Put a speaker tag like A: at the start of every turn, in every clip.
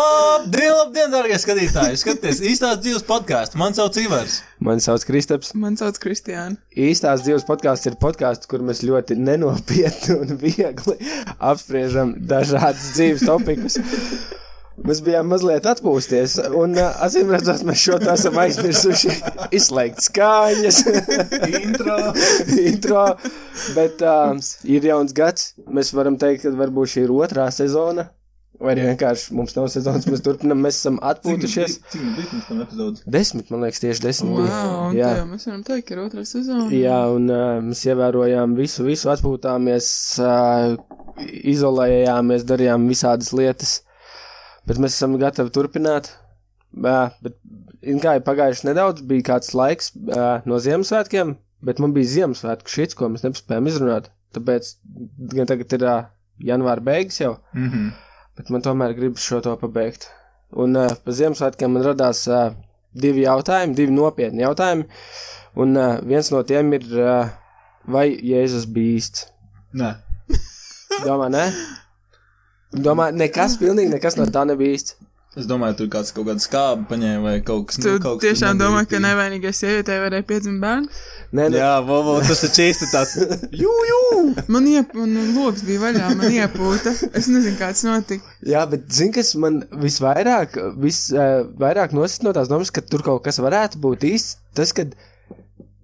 A: Labdien, labdien, darbie skatītāji! Skaties, īstās dzīves podkāsts. Man sauc Ivars.
B: Mani sauc Kristaps.
C: Man sauc Kristiāna.
B: Īstās dzīves podkāsts ir podkāsts, kur mēs ļoti nenopietni un viegli apspriežam dažādas dzīves topikus. Mēs bijām mazliet atpūsties, un uh, acīm redzot, mēs šo to esam aizmirsuši. Izslēgt skaņas,
A: Intro.
B: intro, bet uh, ir jauns gads. Mēs varam teikt, ka varbūt šī ir otrā sezona, vai arī vienkārši mums nav sezonas, mēs turpinam, mēs esam atpūtušies.
A: Cik mums bija pirms tam epizodē?
B: Desmit, man liekas, tieši desmit. bija.
C: Wow, un
B: Jā.
C: tā jau mēs varam teikt, ka ir otrā sezona.
B: Jā, un uh, mēs ievērojām visu, visu atpūtāmies, uh, izolējāmies, darījām visādas lietas. Bet mēs esam gatavi turpināt. Uh, bet, zini kā ir pagājuši nedaudz, bija kāds laiks uh, no Ziemassvētkiem, bet man bija Ziemassvētku šits, ko mēs nespējām izrunāt. Tāpēc gan tagad ir uh, janvāra beigas jau,
A: Mhm.
B: bet man tomēr gribas šo to pabeigt. Un uh, par Ziemassvētkiem man radās uh, divi jautājumi, divi nopietni jautājumi. Un uh, viens no tiem ir, uh, vai Jēzus bija īsts?
A: Nē,
B: Domā, nē? Domā, nekas, pilnīgi nekas no tā nebija īsts.
A: es domāju, tur kāds kaut kādu skābi paņēma vai kaut kas
C: Tu
A: nu, kaut kas
C: tiešām
A: nebija
C: domā, ka
A: tī.
C: nevainīgai sievietei varēja piedzimt bērnu?
B: Nē, nu, nē,
A: Jā, vovo, tas ir čīsti tāds. Jū, jū!
C: Man iep, un logs bija vaļā, man iepūta. Es nezinu, kāds notika.
B: jā, bet zini, kas man visvairāk, visvairāk uh, nosit no tās domas, ka tur kaut kas varētu būt īsts, tas, kad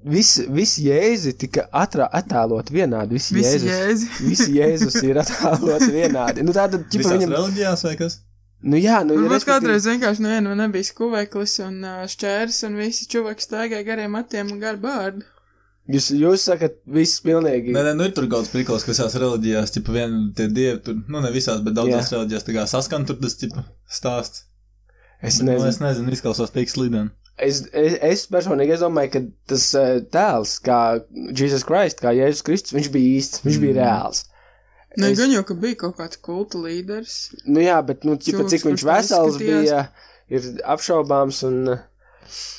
B: viss vis Jēzi tika atrā, attēlot vienādi, visi
C: Visi
B: Jēzus.
C: jēzi.
B: Visi Jēzus ir attēlot vienādi. Nu, tāda ir
A: Visās
B: viņam...
A: reliģijās vai kas?
B: nu, jā, nu, ja
C: Varbūt
B: respektīvi-
C: kādreiz vienkārši nevienam nebija skuveklis un ā, šķērs, un visi čuvaki staigāja gariem matiem un garu bārdu.
B: Jūs, jūs sakat, viss pilnīgi.
A: Nē, nē, nu ir tur kaut kāds priklis, ka visās reliģijās, tipā, vien tie dievi tur, nu ne visās, bet daudzās
B: Jā.
A: reliģijās tā kā saskan tur tas, tipā, stāsts. Bet,
B: es
A: Nu,
B: nezinu.
A: es nezinu, izklausās tik slideni.
B: Es, es, es personīgi es domāju, ka tas eh, tēls, kā Jēzus Kristus, kā Jēzus Kristus, viņš bija īsts, viņš bija
A: Mm.
B: reāls.
C: Nē,
B: Es-
C: Nu, gan jau, ka bija kaut kāds kulta līderis.
B: Nu, jā, bet, nu, ķipa,
C: Cilvēks,
B: cik viņš
C: kurš tā
B: vesels
C: izskatījās.
B: bija, ir apšaubāms un. eh,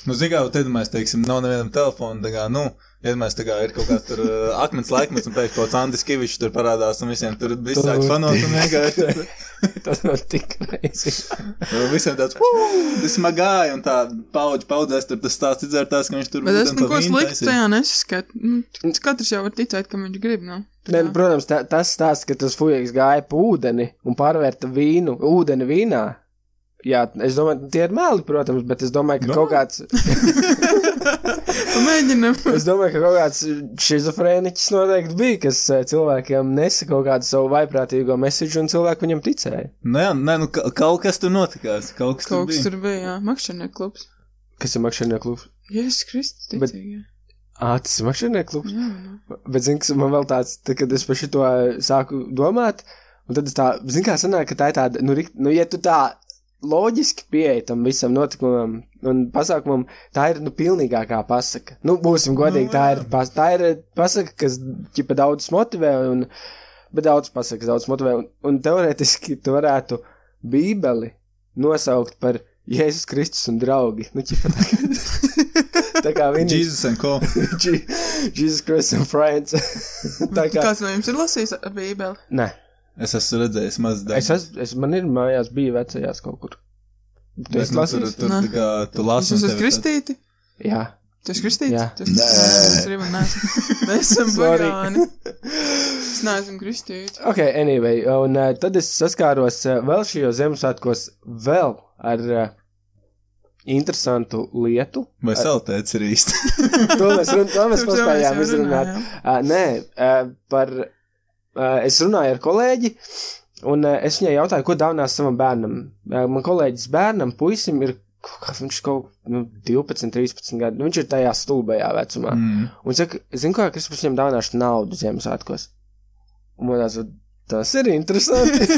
A: Nu, zināmā mērā, tad mēs teiksim, nav nevienam telefona. Tā kā, nu, vienmēr tā kā ir kaut kāds tur uh, akmens laikmets, un pēkšņi kaut kāds Andris Kavičs tur parādās, un visiem tur visāk
B: Tu-
A: fanot, un vienkārši tur,
B: Tas nav tik reizi.
A: uh, visiem tāds, uh, smagāji, un tā paudž, paudzēs tur tas stāsts izvērtās, ka viņš tur
C: Bet es
A: ūdeni pa
C: neko
A: vīnu
C: sliktu
A: taisīja.
C: tajā nesaskatu. Nu, t- Katrs jau var ticēt, ka viņš grib, nav.
B: Nē, nu, protams, tā, tas stāsts, ka tas fujaks gāja pa ūdeni un pārvērta vīnu, ūdeni vīnā. Jā, es domāju, tie ir meli, protams, bet es domāju, ka
A: Nu.
B: no. kaut kāds,
C: Mēģinam.
B: es domāju, ka kaut kāds šizofrēniķis noteikti bija, kas eh, cilvēkiem nesa kaut kādu savu vaiprātīgo mesiģu un cilvēku viņam ticēja.
A: Nē, nē, nu, ka- kaut kas tur notikās. Kaut kas
C: Kaut kas
A: tur bija.
C: tur bija, jā. Makšanai klubs.
B: Kas ir makšķernie klubs?
C: Jēzus Kristus,
B: Bet-
C: ticīgi. Nu,
B: Ā, tas ir makšķernie klubs.
C: Jā, jā.
B: Bet, zini, kas man vēl tāds, tad, kad es par šo sāku domāt, un tad es tā, zini, kā sanāk, ka tā ir tāda, nu, rikt- nu ja tu tā loģiski pieeji tam visam notikumam un pasākumam, tā ir, nu, pilnīgākā pasaka. Nu, būsim godīgi,
A: Nu,
B: tā ir,
A: jā.
B: pas, tā ir pasaka, kas, ķipa, daudz motivē, un, bet daudz pasakas, daudz motivē, un, un teoretiski tu varētu Bībeli nosaukt par Jēzus Kristus un draugi. Nu, ķipa, tā kā, tā kā viņi.
A: Jēzus un ko?
B: Je- Jesus Christ and Friends. tā kā.
C: Kāds no jums ir lasījis Bībeli?
B: Nē,
A: Es esmu redzējis maz
B: es, es, es man ir mājās, bija vecajās kaut kur.
A: Es
B: Tu
C: nu
B: esi
A: lasu,
B: lasījis?
A: nu, tur
C: Nē.
A: tā kā tu
C: Jūs
A: lasi. un
C: esat
A: tev ir tāds-
C: kristīti?
B: Jā.
C: Tu esi kristīts?
B: Jā.
C: Tu esi
A: Nē.
C: kristīts. Mēs esam
B: Sorry.
C: pagāni. Mēs neesam kristīti.
B: Ok, anyway, un uh, tad es saskāros uh, vēl šajos Ziemassvētkos vēl ar uh, interesantu lietu.
A: Vai saltēts ir īsti?
B: To mēs, run, to mēs
C: Tur jau
B: paspējām
C: jau
B: izrunāt.
C: runājām.
B: Uh, nē, uh, par. Uh, es runāju ar kolēģi, un uh, es viņai jautāju, ko dāvinās savam bērnam. Uh, man kolēģis bērnam, puisim, ir kaut kas- viņš kaut nu, 12, 13 gadi. Nu, viņš ir tajā stulbajā vecumā. Mm.
A: Mm.
B: Un saka, zinu, kā Kristus viņam dāvināšu naudu Ziemassvētkos. Un man liekas, tas ir interesanti.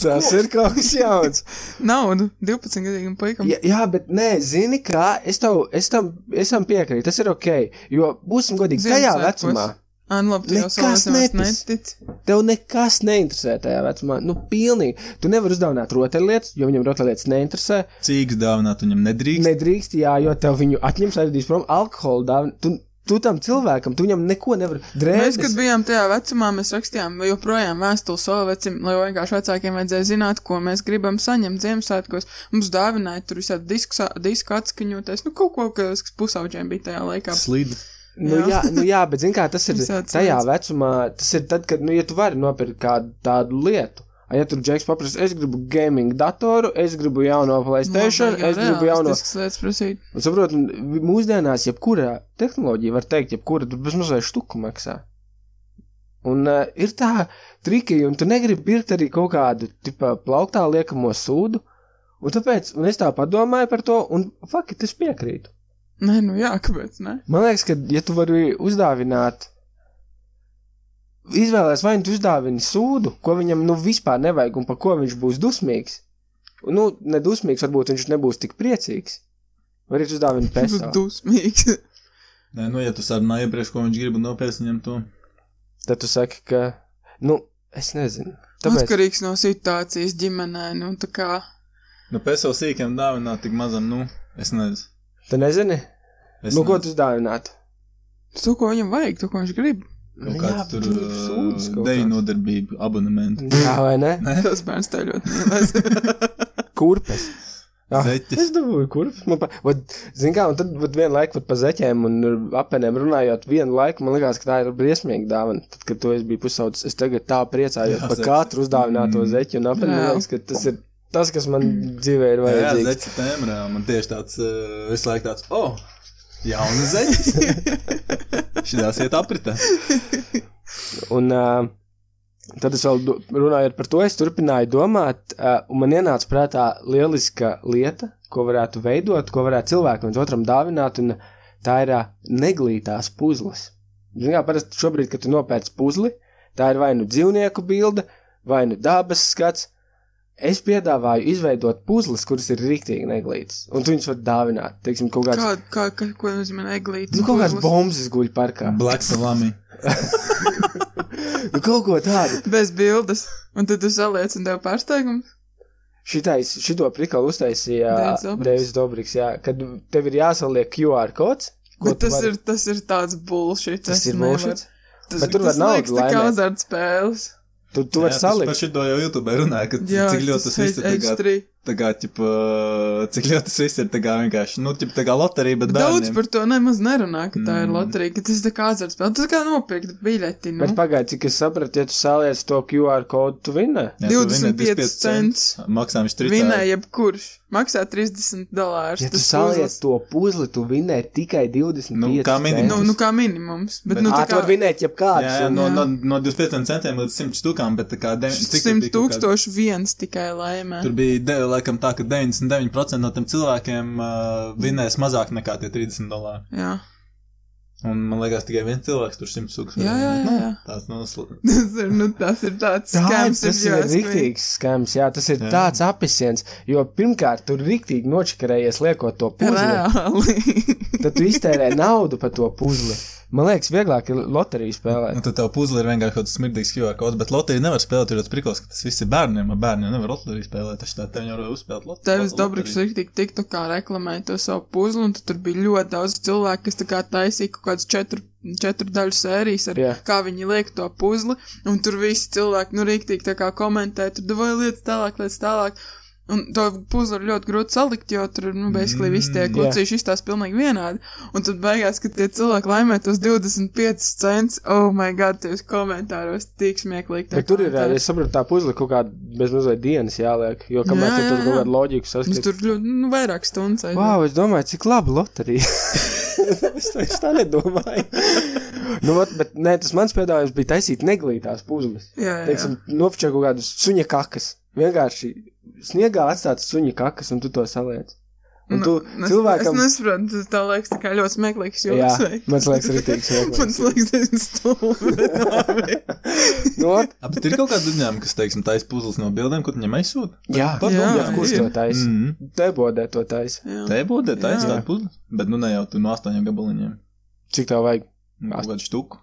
B: tas ir kaut kas jauns.
C: Naudu 12 gadīgam puikam.
B: Jā, jā, bet nē, zini, kā es, tev, es, tam, es tam piekrītu. Tas ir ok. Jo, būsim godīgi, tajā
C: Ziemassvētkos.
B: vecumā.
C: Ā, nu labi, tu jau
B: Nekas
C: savukārt nevis
B: netic.
C: netic.
B: Tev nekas neinteresē tajā vecumā. Nu, pilnīgi. Tu nevari uzdāvināt rotaļlietas, jo viņam rotaļlietas neinteresē.
A: Cīgs dāvināt viņam nedrīkst.
B: Nedrīkst, jā, jo tev viņu atņems, aizdīs prom alkohola dāvanu. Tu, tu tam cilvēkam, tu viņam neko nevari.
C: Mēs, kad
B: Drēbes,
C: bijām tajā vecumā, mēs rakstījām vai joprojām vēstuli savam vecim, lai vienkārši vecākiem vajadzēja zināt, ko mēs gribam saņemt Ziemassvētkos. Mums dāvināja tur visādi disku, sa- disku atskaņoties, nu kaut ko, kas pusauģiem bija tajā laikā.
A: Slīd.
B: nu,
C: jā.
B: jā, nu, jā, bet zini, kā tas ir
C: Visādas
B: tajā
C: lietas.
B: vecumā, tas ir tad, kad, nu, ja tu vari nopirkt kādu tādu lietu. A, Ja tur džeks paprasa, es gribu gaming datoru, es gribu jauno
C: Nu,
B: PlayStation, es gribu jauno.
C: Realistiskas lietas prasīt.
B: Un Nu, saprot, un vi- mūsdienās jebkurā tehnoloģija, var teikt, jebkura tur bezmazliet štuku maksā. Un uh, ir tā triki, un tu negribi pirkt arī kaut kādu tipā plauktā liekamo sūdu. Un tāpēc, un es tā padomāju par to, un fakti es piekrītu.
C: Nē, nu jā, kāpēc, ne?
B: Man liekas, ka, ja tu vari uzdāvināt, izvēlēties vai nu tu uzdāvini sūdu, ko viņam nu vispār nevajag un par ko viņš būs dusmīgs. Un, Nu, nedusmīgs, varbūt viņš nebūs tik priecīgs. Vai arī tu uzdāvini
C: Tas
B: pēc
C: ir dusmīgs.
A: Nē, nu, ja tu sarunāji iepriekš, ko viņš grib un nopietni viņam to.
B: Tad tu saki, ka, nu, es nezinu.
C: Tāpēc...
B: Tāpēc,
C: Atkarīgs no situācijas ģimenē, nu tā kā.
A: Nu, pēc jau sīkiem dāvināt tik mazam, nu, es nezinu.
B: tu nezini,
A: Es
B: nu, ko
A: nezinu.
B: tu uzdāvinātu?
C: To, ko viņam vajag, to, ko viņš grib.
B: Nu,
A: Kaut kāds tur
B: sūdzas kaut
A: deju
B: kāds.
A: nodarbību abonementu.
B: Jā, vai ne?
C: Tas bērns tā ļoti mīlēs.
B: Kurpes. Ah,
A: Zeķes.
B: Es dabūju kurpes. Man pa... vat, zin kā, un tad vat, vienu laiku pat pa zeķēm un ar apenēm runājot, vienu laiku man likās, ka tā ir briesmīga dāvana. Tad, kad to es biju pusaudzis, es tagad tā priecājos
A: Jā,
B: par
A: zeķis.
B: katru uzdāvināto
A: Mm.
B: zeķu un apeni. Man
C: Jā.
B: liekas, ka tas ir tas, kas man dzīvē ir
A: Jā,
B: vajadzīgs.
A: zeķis tēmā. Man tieši tāds eh, visu laiku tāds, oh, jauna zeķis. Šitās iet apritē.
B: Un uh, tad es vēl do- runāju par to, es turpināju domāt, uh, un man ienāca prātā lieliska lieta, ko varētu veidot, ko varētu cilvēkam viens otram dāvināt, un tā ir uh, neglītās puzles. Zinām, parasti šobrīd, kad tu nopērc puzli, tā ir vai nu dzīvnieku bilde, vai nu dabas skats. Es piedāvāju izveidot puzles, kuras ir rīktīgi neglītas, un tu viņus var dāvināt. Teiksim, kaut kāds,
C: Kā, kā, kā, ko nozīmē eglītis?
B: nu, kaut kāds bombs guļ parkā.
A: Black salami.
B: Nu, kaut ko tādu.
C: Bez bildes. Un tad tu saliec un tev pārsteigums.
B: Šitais, šito prikalu uztaisīja
C: Deivids Dobriks.
B: Deivs Dobriks, jā, kad tev ir jāsaliek QR kods. ko
C: Bet
B: tu
C: tas,
B: vari-
C: ir, tas ir tāds bullshit.
B: Tas
C: es
B: ir
C: nevaru.
B: bullshit?
C: Tas,
B: Bet tur var
C: tas
B: naudu
C: liekas tā kā
B: laimēt.
C: azartspēles.
B: Tu, tu vari
A: Jā, tas Par
B: salikt.
A: šito jau YouTube runāju, ka
C: Jā, e-
A: cik ļoti tas viss ir tā kā,
C: ekstrī.
A: tā kā, ķip, eh, cik ļoti tas viss ir tā kā vienkārši, nu, ķip, tā kā loterija, bet
C: Daudz
A: bērniem.
C: par to nemaz nerunā, ka tā ir
A: Mm.
C: loterija, ka tas ir tā kā azartspēle. Tas kā nopirkt biļeti. Nu.
B: Bet pagaidi, cik es sapratu, ja tu saliec to QR kodu, tu vinē.
A: Jā, tu vini
C: 25 cents.
A: Maksājums 3
C: Vinēja jebkurš. Maksā 30 dolārus.
B: Ja tu
C: Tas
B: saliec
C: uzlas-
B: to puzli, tu vinē tikai 25.
A: Nu, kā minimums.
C: Nu,
B: centus.
C: nu kā minimums. Bet,
A: Bet-
C: bet nu,
B: Ā,
C: tā
B: tu vari
C: kā
A: Jā,
B: vinēt
A: jā,
B: jebkādus. un-
A: no,
C: jā.
A: no, no 25 centiem līdz 100 stukām, bet tā kā devi- cik tur
C: 100
A: bija kaut kāda-
C: tūkstoši viens tikai laimē.
A: Tur bija de, laikam tā, ka 99% no tiem cilvēkiem uh, vinēs mazāk nekā tie 30 dolāri.
C: Jā.
A: Un man liekas, tikai viens cilvēks tur simt sūkļus.
C: Jā, jā, jā, jā.
A: Tāds nav slikts.
C: Tas ir, nu, tas ir
B: Tā
C: tāds
B: ir,
C: skams,
B: tas ir rīktīgs skams, jā, tas ir
A: Jā.
B: tāds apisiens, jo pirmkārt, tu rīktīgi nočakarējies liekot to puzli.
C: Reāli.
B: tad tu iztērē naudu par to puzli. Man liekas, vieglāk ir loteriju
A: Nu,
B: spēlēt.
A: tad tev puzle ir vienkārši kaut kāds smirdīgs QR kods, bet loterija nevar spēlēt, jo tas priklis, ka tas viss ir bērniem, ar bērniem nevar loteriju spēlēt, taču tā tev jau var uzspēlēt loteriju.
C: Tevis Dobriks rīktīgi tiktu kā reklamēja to savu puzli, un tad tur bija ļoti daudz cilvēku, kas tā kā taisīja kaut kādas četru, četru daļu sērijas ar,
B: Jā.
C: yeah. kā viņi liek to puzli, un tur visi cilvēki, nu, rīktīgi tā kā komentē, tur davai lietas tālāk, lietas tālāk. Un to puzli ir ļoti grūti salikt, jo tur, nu, beisklī visi tie
A: Mm,
B: jā.
C: klucīši izstās pilnīgi vienādi. Un tad beigās, kad tie cilvēki laimē tos 25 cents, oh my god, tevis komentāros tik smieklīgi. tie
B: Bet tur ir,
C: komentāri.
B: es saprotu, tā puzle kaut kāda bezmazliet dienas jāliek, jo kamēr
C: Jā,
B: tu
C: jā,
B: tur kaut
C: jā.
B: kāda loģika
C: Mums
B: saskatās.
C: tur ļoti, nu, vairāk stundas aiziet.
B: Wow, es domāju, cik labi loterija. es to es tā nedomāju. nu, vat, bet nē, tas mans piedāvājums bija taisīt neglītās puzles.
C: Jā, jā, jā.
B: Teiksim, nopčā kaut kādas suņa kakas. Vienkārši sniegā atstāts suņa kakas un tu to saliec. Un tu
C: Nu, es-
B: cilvēkam-
C: Es nesaprotu, tas tev liekas tā kā ļoti smieklīgs
B: Jā, Nu,
C: joks. vai?
B: man liekas, arī tīks.
C: Man liekas, tas ir stulbi.
B: nu, vat,
A: A, bet ir kaut kāda uzņēmuma, kas, teiksim, taisa puzles no bildēm, ko tu viņam aizsūti.
B: jā,
A: Padomā,
B: jā, kurš
C: ir.
B: to taisa?
A: Mm.
B: Mm. Tebodē to taisa.
C: Jā.
A: Te būtu taisa
C: Jā.
A: tāda puzle, bet nu ne jau tu no astoņiem gabaliņiem.
B: Cik tev vajag?
A: Nu, Kaut kādu štuku.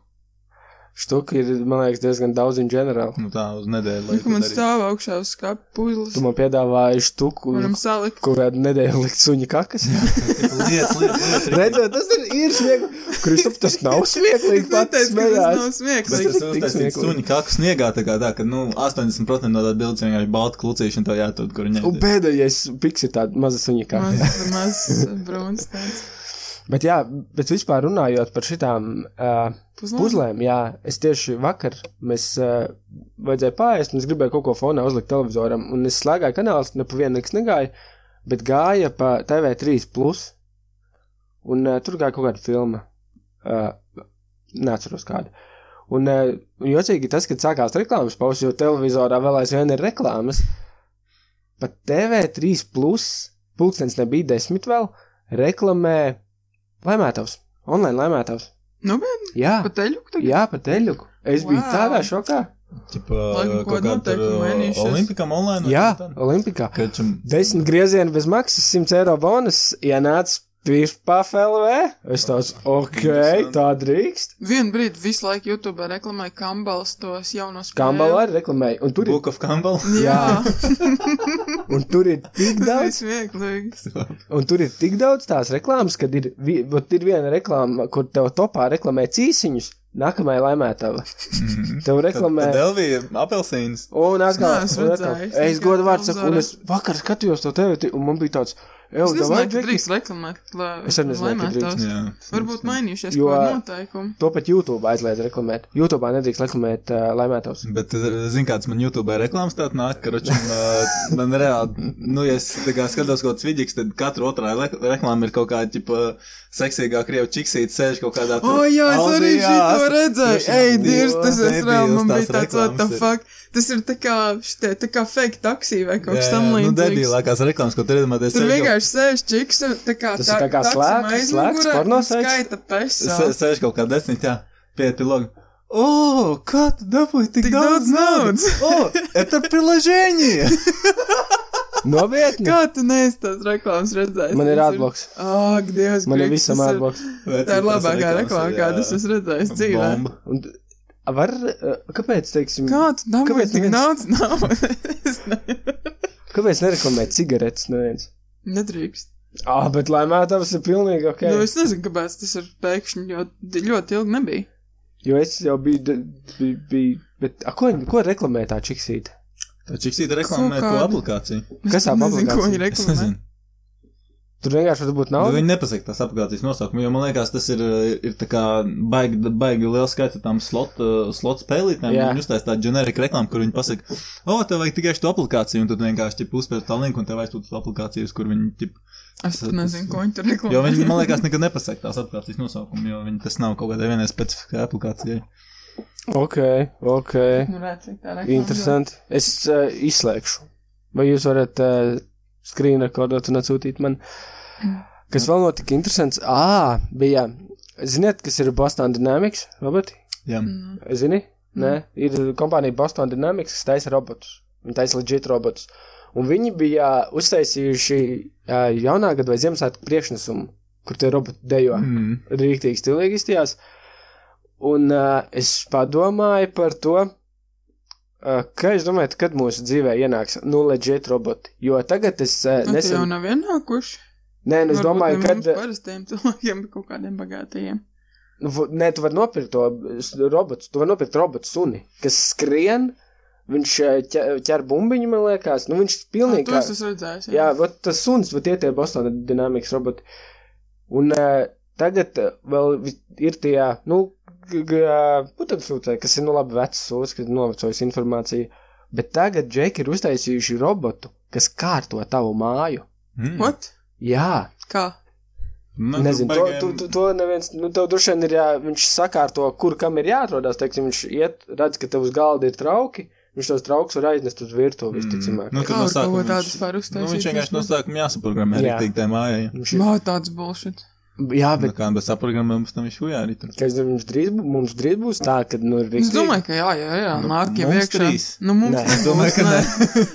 B: Štuka ir, man liekas, diezgan daudz un ģenerāli.
A: Nu, tā uz nedēļu. lai
C: Nu, ka
A: to
C: man
A: darītu.
C: stāv augšā uz skāpja puzles.
B: Tu man piedāvāji štuku,
C: Varam salikt.
B: kur varētu nedēļu likt suņa kakas.
A: Lietas, lietas, lietas.
B: Redzēt, tas ir, ir smieklīgi. Kristup, tas nav smieklīgi.
C: Es
B: Pats
C: neteicu, ka tas
B: smējās.
C: nav
A: Bet
C: smieklīgi.
A: tas
B: ir tik
A: uztaisīts
B: smieklīgi.
A: suņi kaku sniegā, tā kā tā, ka, nu, 80% no tā bildes vienkārši balta klucīšana tev jātod, kur viņa
B: Un pēdējais piks ir tāds mazs suņa kakas.
C: Mazs, mazs brūns eh, tāds.
B: Bet jā, bet vispār runājot par šitām. Uh,
C: Puzlē.
B: Puzlēm, jā, es tieši vakar, mēs uh, vajadzēja pāriest, un es gribēju kaut ko fonā uzlikt televizoram, un es slēgāju kanālus, ne pa vienu nekas negāja, bet gāja pa TV3, plus, un uh, tur gāja kaut kāda filma. Uh, neatceros kādu. Un uh, jocīgi tas, kad sākās reklāmas pauzes, jo televizorā vēl aizvien ir reklāmas, pat TV3, plus, pulkstenis nebija desmit vēl, reklamē laimētavs, online laimētavs.
C: Nu,
B: Jā.
C: bet pateļuk tagad.
B: Jā, pat eļļuku. Es biju
C: Wow.
B: tādā šokā.
A: Čipa,
C: Laikam
A: kaut
C: kaut
A: kā tur uh,
C: noteikumi mainījušies.
A: olimpikam online. vai
B: Jā,
A: kaut kā tā?
B: Olimpikā.
A: Ka čim-
B: Desmit griezieni bez maksas, 100 eiro bonus. Ienāca Pirpaf LV. Es tāds, ok,
A: Interesanti.
B: tā drīkst.
C: Vienu brīdi visu laiku YouTube reklāmēja Kambals tos jaunos
B: Kambala arī reklamēja. Un tur, ir,
A: Book of Campbell.
C: Jā,
B: un tur ir tik
C: tas ir
B: daudz,
C: smieklīgi.
B: un tur ir tik daudz tās reklāmas, kad ir, vi, vot ir viena reklāma, kur tev topā reklamē cīsiņus. Nākamajai laimētāji. Tev reklamē.
A: Delvija apelsīns.
B: Un atkal,
C: Es neesmu
B: un atkal.
C: redzējis,
B: es
C: nekā
B: godu vārdu saku, un
C: televizorā.
B: es vakar skatījos to tevi, un man bija tāds,
C: Es
B: ej, davai,
C: nezinu, ka
B: Džeki,
C: drīkst reklamēt, lai
B: Es arī nezināju, ka drīkst,
C: laimētājs.
A: Jā.
C: Varbūt mainījušies
B: Jo-
C: jo... kaut kādi noteikumi.
B: To pat YouTube aizliedz reklamēt. YouTube nedrīkst reklamēt uh, laimētājus.
A: Bet, eh, zini, kāds man YouTube reklāmas tāds nāk, ka, roču, man reāli, nu, ja es tā kā skatos kaut kāds vidīgs, tad katru otrā le- reklāma ir kaut kāda, tipa, seksīgā krievu čiksīte sēž kaut kādā.
C: O, jā, es arī šito redzēju.
A: Droši
C: Ej,
A: vien
C: Dievs, tas
A: divas
C: es reāli, man
A: debīlas
C: bija
A: tās
C: tāds, what the
A: reklāmas ir.
C: fuck. Tas ir tā kā, šitie, tā kā fake taksī vai kaut kas tam
A: Nu,
C: līdzīgs.
A: debilākās reklāmas, ko tu iedomājies.
C: Tur
A: sēž kaut-
C: vienkārši sēž čiks, un tā kā
B: Tas ir tā kā
C: taksam
B: slēgts-
C: aizmugurē
B: slēgts porno
C: un
B: saites?
C: Skaita pesā.
A: sē- Sēž kaut kā desmit, jā, pie piloga. O, kā tu dabūji tik,
C: Tik
A: daudz
C: daudz
A: naudas? O, это приложение!
B: Nopietni!
C: Kā tu neesi tās reklāmas redzējis?
B: Man ir atbloks.
C: Ak, Dievs,
B: Man ir
C: Griegs,
B: visam
C: tas
B: atbloks.
C: Tā ir labākā reklāma, kādu es esmu redzējis dzīvē.
A: Bomba.
B: Un a, var, uh, kāpēc, teiksim,
C: Kādu tam
B: Kāpēc
C: tik
B: neviens-
C: naudas nav? Es ne-
B: kāpēc nereklamē cigaretes neviens?
C: Nedrīkst.
B: Ah, bet laimētājs ir pilnīgi ok.
C: Nu,
B: Nu, es...
C: es nezinu, kāpēc tas ir pēkšņi, jo di- ļoti ilgi nebija.
B: Jo es jau biju, de- biju, biju bet, a, ko, ko reklamē tā čiksīte?
A: Tā čiksīta reklāmē
C: Kaut
A: ko
C: kāda.
A: aplikāciju.
B: Kas tā
C: nezinu, ko
B: aplikācija?
C: viņi
A: Es
C: reklamē.
A: nezinu.
B: Tur vienkārši var būt
A: Nu,
B: nauda.
A: viņi nepasaka tās aplikācijas nosaukumu, jo man liekas, tas ir, eh, ir tā kā baigi, baigi liels skaits ar tām slot, uh, slot spēlītēm.
B: Jā.
A: Viņi uztaisīja tādu ģenerisku reklāmu, kur viņi pasaka, o, tev vajag tikai šo aplikāciju, un tad vienkārši ķip, uzspēr tā linku, un tev aizsūta uz aplikācijas, kur viņi ķip.
C: Es pat nezinu, ko viņi tur
A: Jo viņi,
C: reklamē.
A: man liekas, nekad nepasaka tās aplikācijas nosaukumu, jo viņi tas nav kaut kādai vienai specifiskai aplikācijai.
B: Ok, ok.
C: Nu, redz, cik tā reklāma
B: Interesanti. Es uh, izslēgšu. Vai jūs varat uh, skrīnu rekordot un atsūtīt man? Kas vēl notika interesants? Ā, bija. Ziniet, kas ir Boston Dynamics? Roboti?
A: Jā.
C: Mm.
B: Zini? Nē, ir kompānija Boston Dynamics, kas taisa robotus. Viņi taisa leģit robotus. Un viņi bija uztaisījuši uh, jaunā gada vai Ziemassvētku priekšnesumu, kur tie roboti dejo. Mm
A: Mm.
B: rīktīgi stilīgi izties. Un uh, es padomāju par to, uh, ka es domāju, kad mūsu dzīvē ienāks nulleģēt roboti. Jo tagad es uh,
C: Nu, Nesen... jau
B: nesen.
C: nav vienākuši.
B: Nē, nu, es domāju, kad.
C: Ar parastiem cilvēkiem, bet kaut kādiem bagātajiem.
B: Nu, vo- Nē, tu vari nopirkt to s- robotu. Tu vari nopirkt robotu suni, kas skrien. Viņš ē, ķer, ķer bumbiņu, man liekas. Nu, viņš
C: Ah,
B: pilnīgi.
C: To
B: kā-
C: es esmu redzējis.
B: Jā, vot tas suns, vot tie tie Boston dinamikas roboti. Un uh, tagad uh, vēl vi- ir tie, nu, putekļsūtē, kas ir, nu, labi vecs sūs, kas ir novecojas informācija. Bet tagad džeki ir uztaisījuši robotu, kas kārto tavu māju.
A: Mm.
C: What?
B: Jā,
C: Kā?
A: Nu,
B: Nezinu,
A: tur
B: to,
A: baigiem-
B: to, to, to neviens, nu, tev droši vien ir, jā, viņš sakārto, kur kam ir jāatrodās, teiksim, viņš iet, redz, ka tev uz galda ir trauki, viņš tos trauks var aiznest uz virtuvi, visticamāk.
A: Nu,
C: Kā
A: tur no
C: var kaut ko
A: sākuma
C: tādus var
A: viņš, nu,
C: uztaisīt?
A: viņš vienkārši no sākuma jāsaprotamē
B: Jā.
A: rīktīgi tajā mājā. jā.
B: Viņš ir
C: Mā, tāds bullshit.
B: Jā,
A: Bet... Nu,
B: bet
A: kā mēs saprotam, tam ir šūjā arī tur.
B: ka es domāju, mums drīz, bū- mums drīz būs tā, ka nu, ir
C: Es
B: rīktīgi-
C: domāju, ka jā, jā, jā.
A: Nu,
C: nāk jau
A: mums
C: iekšā.
A: trīs.
C: Nu, mums
B: Nē,
C: nebūs,
A: domāju, ka
C: nē.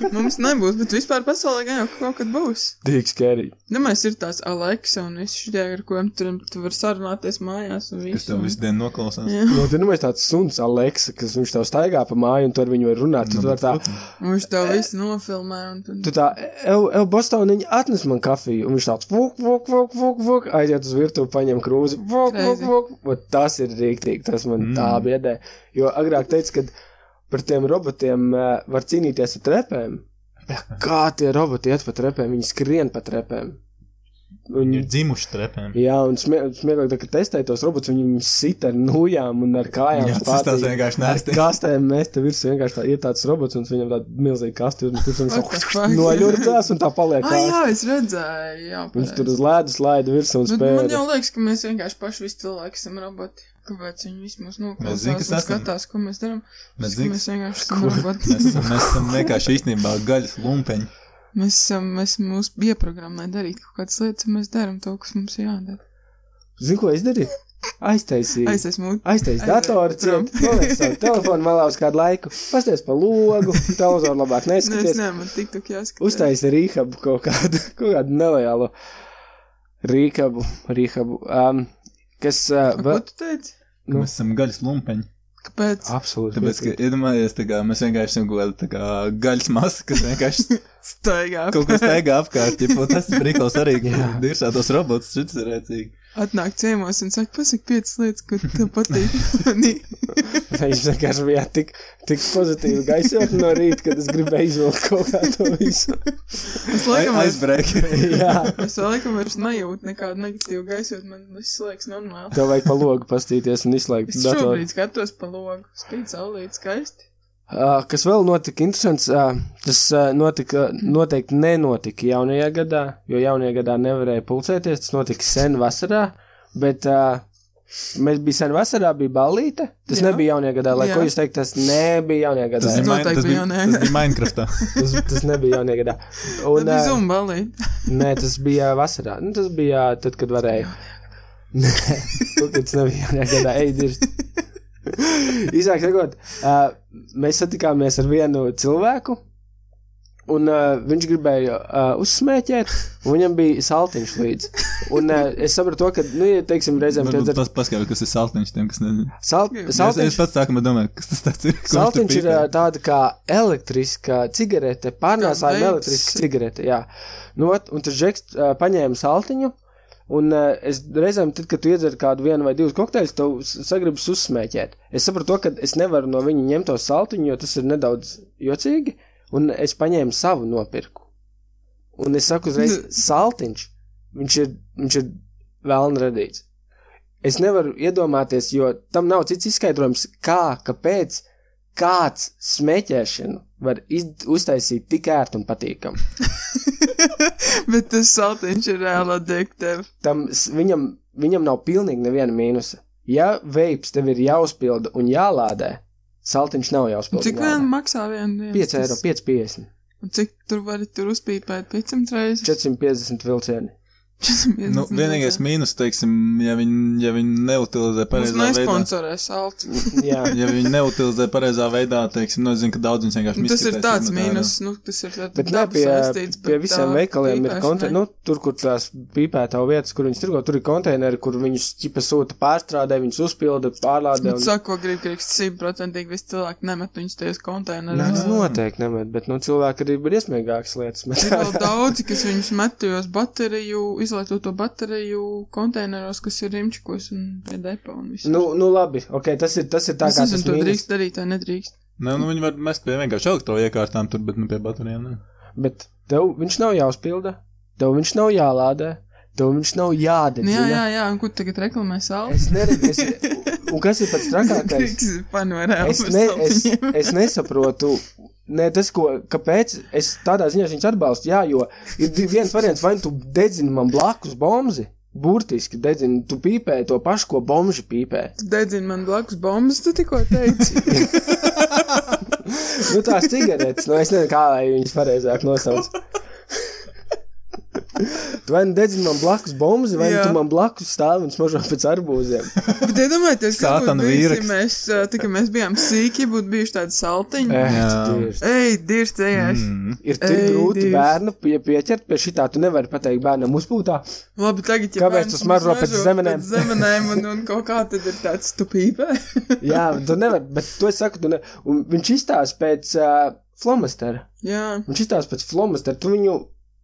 C: Nu, mums nebūs, bet vispār pasaulē gan jau kaut kad būs.
B: Tik skeri.
C: Nemaz ir tās Aleksa un visi šie, ar kuriem tur tu var sarunāties mājās un visu.
A: Kas tev visu dienu noklausās?
C: Jā.
B: Nu, tad, nu, mēs tāds suns, Aleksa, kas viņš tev staigā pa māju, un tu ar viņu var runāt. Tu,
A: Nu,
B: tu var
A: bet
B: tā,
C: Un viņš tev visu nofilmē un tad.
B: tu tā, el, el Bostoniņa atnes man kafiju, un viņš tāds, vuk, vuk, vuk, vuk, vuk, aiziet uz virtuvi, paņem krūzi, vuk, vuk,
C: Crazy.
B: vuk. Un tas ir rīktīgi, tas man
A: Mm.
B: mm. tā biedē. Jo agrāk teica, ka par tiem robotiem eh, var cīnīties ar trepēm. Bet Kā tie roboti iet pa trepēm? Viņi skrien pa trepēm.
A: Viņi
B: Viņi
A: nu, ir dzimuši trepēm.
B: Jā, un smie- smieklīgi, tā, ka testēja tos robotus, viņi sit ar nūjām un ar kājām.
A: Jā, tas tas vienkārši nēsti.
B: Kastēm mēs te virsū vienkārši tā ir tāds robots, un viņam tāda milzīga kaste, un tur
C: What the
B: viņš
C: fuck?
B: noļurdzās, un tā paliek.
C: Ah,
B: kaste.
C: jā, es redzēju, jā.
B: Viņš
C: pareizi.
B: tur uz ledus laida virsū un
C: Bet man
B: spēja.
C: jau liekas, ka mēs vienkārši paši visi cilvēki esam roboti. Kāpēc viņi vismaz
A: Mēs zinām,
C: noklausās
A: kas
C: un
A: esam.
C: skatās, ko mēs darām?
A: Mēs
C: Tāpēc,
A: zinām,
C: ka Mēs vienkārši esam roboti.
A: Mēs, esam- mēs esam vienkārši īstenībā gaļas lumpeņi.
C: Mēs esam, mēs mūs ieprogrammē darīt kaut kādas lietas, un mēs darām to, kas mums jādara.
B: Zini, ko es darīju? Aiztaisīju.
C: Aiz esmu.
B: Aiztais
C: Aiz-
B: datoru,
C: prom.
B: ciet, noliec savu telefonu malā uz kādu laiku, pasties pa logu, televizoru labāk
C: Nē, es
B: neskaties.
C: nevaru, man tik tik jāskatās.
B: Uztaisīja rīkabu kaut kādu, kaut kādu nelojālu rīkabu, rīkabu, um, kas uh,
C: A, Ko
B: vēl.
C: tu teici?
A: Nu. Mēs esam gaļas lumpeņi.
C: Kāpēc?
B: Absolūti.
A: Tāpēc, ka
B: piekrītu.
A: iedomājies, tā kā mēs vienkārši esam kaut kāda tā kā gaļas masa, kas vienkārši
C: Staigā.
A: kaut kur staigā apkārt. Ja, tas ir brīnums arī, ka
B: Jā.
A: dirsā tos robots, šis ir rēcīgi.
C: Atnāk ciemos un saka, pasak piecas lietas, ko tev patīk. Nī.
B: Viņš vienkārši bija tik, tik pozitīvi gaisotni no rīta, kad es gribēju izvilkt kaut kā to visu.
C: es laikam vairs,
A: aizbrēkļi.
B: Jā,
C: es vēl laikam vairs nejūtu nekādu negatīvu gaisot, man viss liekas normāli.
B: tev vajag pa logu pastīties un izslēgt
C: Es
B: datoru.
C: šobrīd skatos pa logu. Spīd saulīt skaisti.
B: Uh, kas vēl notika interesants, uh, tas uh, notika, noteikti nenotika jaunajā gadā, jo jaunajā gadā nevarēja pulcēties. Tas notika sen vasarā, bet uh, mēs bijām sen vasarā, bija balīta. Tas
C: Jā.
B: Jā. nebija jaunajā gadā, lai
C: Jā.
B: ko jūs teikt, tas nebija jaunajā gadā.
A: Tas bija, main,
C: noteikti
A: tas bija,
C: jau nē.
A: tas bija Minecraftā.
B: Tas, tas nebija jaunajā gadā. ah,
C: Un, tā bija
B: ā,
C: zumba balīt.
B: Nē, tas bija vasarā. Nu, tas bija tad, kad varēja. Nē, tu, kad tas nebija jaunajā gadā. Ej, dirst. Īsāk sakot, uh, mēs satikāmies ar vienu cilvēku, un uh, viņš gribēja uh, uzsmēķēt, un viņam bija saltiņš līdzi. Un uh, es sapratu, to, ka, nu, ja teiksim, reizēm
A: Varbūt
B: tas ir
A: tas paskaidro, kas ir saltiņš tiem, kas nezina.
B: salt,
A: Es,
B: saltiņš.
A: es pats sākumā domāju, kas tas tāds ir. ko viņš tur
B: Saltiņš ir
A: pīpē.
B: ā, tāda kā elektriska cigarete, pārnēsāja
C: veids.
B: elektriska cigarete. Jā, nu, ot, un tas džeks ā, paņēma saltiņu. Un uh, es reizēm, tad, kad tu iedzer kādu vienu vai divus kokteļus, tev s- sagribas uzsmēķēt. Es saprotu, to, ka es nevaru no viņa ņemt to saltiņu, jo tas ir nedaudz jocīgi. Un es paņēmu savu nopirku. Un es saku uzreiz,
C: Nu.
B: saltiņš, viņš ir, viņš ir vēlna radīts. Es nevaru iedomāties, jo tam nav cits izskaidrojums, kā, kāpēc kāds smēķēšanu var iz- uztaisīt tik ērti un patīkami.
C: Bet tas saltiņš ir reāli adektīvs.
B: Tam s- viņam, viņam nav pilnīgi neviena mīnusa. Ja veips tev ir jāuzpilda un jālādē, saltiņš nav jāuzpilda.
C: Cik vien maksā vienu dienu?
B: 5
C: Tas-
B: eiro, 5,50,
C: Un cik tur var tur uzpīpēt 500 reizes?
B: 450 vilcieni.
A: Nu, vienīgais mīnus, teiksim, ja viņi, ja viņi neutilizē
C: Mums
A: pareizā veidā.
C: nesponsorē salts.
B: Jā.
A: Ja viņi neutilizē pareizā veidā, teiksim, nu, es zinu, ka daudz viņus vienkārši
C: Tas ir
A: miskatēs
C: tāds
A: izmetā,
C: mīnus, nu, tas ir tāds
B: Bet ne,
C: dabas
B: pie,
C: saistīts,
B: pie
C: bet
B: visiem
C: tā
B: veikaliem ir
C: pīpēšana,
B: konteineri,
C: ne?
B: nu, tur, kur tās pīpētā vietas, kur viņas tirgo, tur ir konteineri, kur viņas ķipa sūta pārstrādē, viņas uzpilda, pārlādē.
C: Bet saka, ko grib krikst, simtprocentīgi visi cilvēki nemet viņus
B: Nē,
C: tajos
B: tas
C: konteineros.
B: noteikti nemet, bet nu, cilvēki arī ir iesmīgākas lietas.
C: Ir vēl
B: Met.
C: daudzi, kas viņus met tajos bateriju, izlietoto bateriju konteineros, kas ir rimčikos un pie depo un visu.
B: nu, nu, labi, ok, tas ir, tas ir tā
C: es
B: kā
C: nezinu,
B: tas
C: to
B: mīnus,
C: drīkst darīt vai nedrīkst.
A: Nē, nu, viņi var mest pie vienkārši elektroiekārtām tur, bet nu pie baterijām. ne.
B: bet tev viņš nav jāuzpilda, tev viņš nav jālādē, tev viņš nav
C: Nu, jā, jā,
B: jādedzina.
C: jā, un kur tagad reklamē salts?
B: Es neredzu, es, un kas ir pats trakākais?
C: Kriks panorē.
B: Es, ne, es, es nesaprotu, ne, tas, ko, kāpēc es tādā ziņā viņus atbalstu. Jā, jo ir di- viens variants, vai nu tu dedzini man blakus bomzi, burtiski dedzini, tu pīpē to pašu, ko bomži pīpē.
C: Tu dedzini man blakus bombas, tu tikko teici.
B: Nu, tās cigaretes, nu, es nezinu, kā lai viņas pareizāk nosauc. Tu vai nu dedzini man blakus bombas, vai nu
C: Jā.
B: tu man blakus stāvi un smaržo pēc arbūziem.
C: Bet iedomājieties, kas būtu
A: Sātana
C: bijis, ja
A: vīraks.
C: mēs, ā, tā kā mēs bijām sīki, būtu bijuši tādi saltiņi.
B: Eh,
A: Jā.
B: tu dievs.
C: Ej, dievs, cēlies!
A: Mm.
B: Ir tik
C: Ei,
B: grūti
C: Dievs.
B: bērnu pie, pieķert pie šitā. Tu nevari pateikt bērnam, uzpūtā.
C: Labi, tagad, ja
B: Kāpēc
C: bērns
B: tu smaržo pēc
C: smaržo
B: zemenēm?
C: pēc Zemenēm un, un kaut kā tad ir tāds stupība.
B: Jā, tu nevari, bet to es saku, tu ne. Un viņš izstāsta pēc uh, flomastera.
C: Jā,
B: Viņš izstāsta pēc flomastera. Tu viņu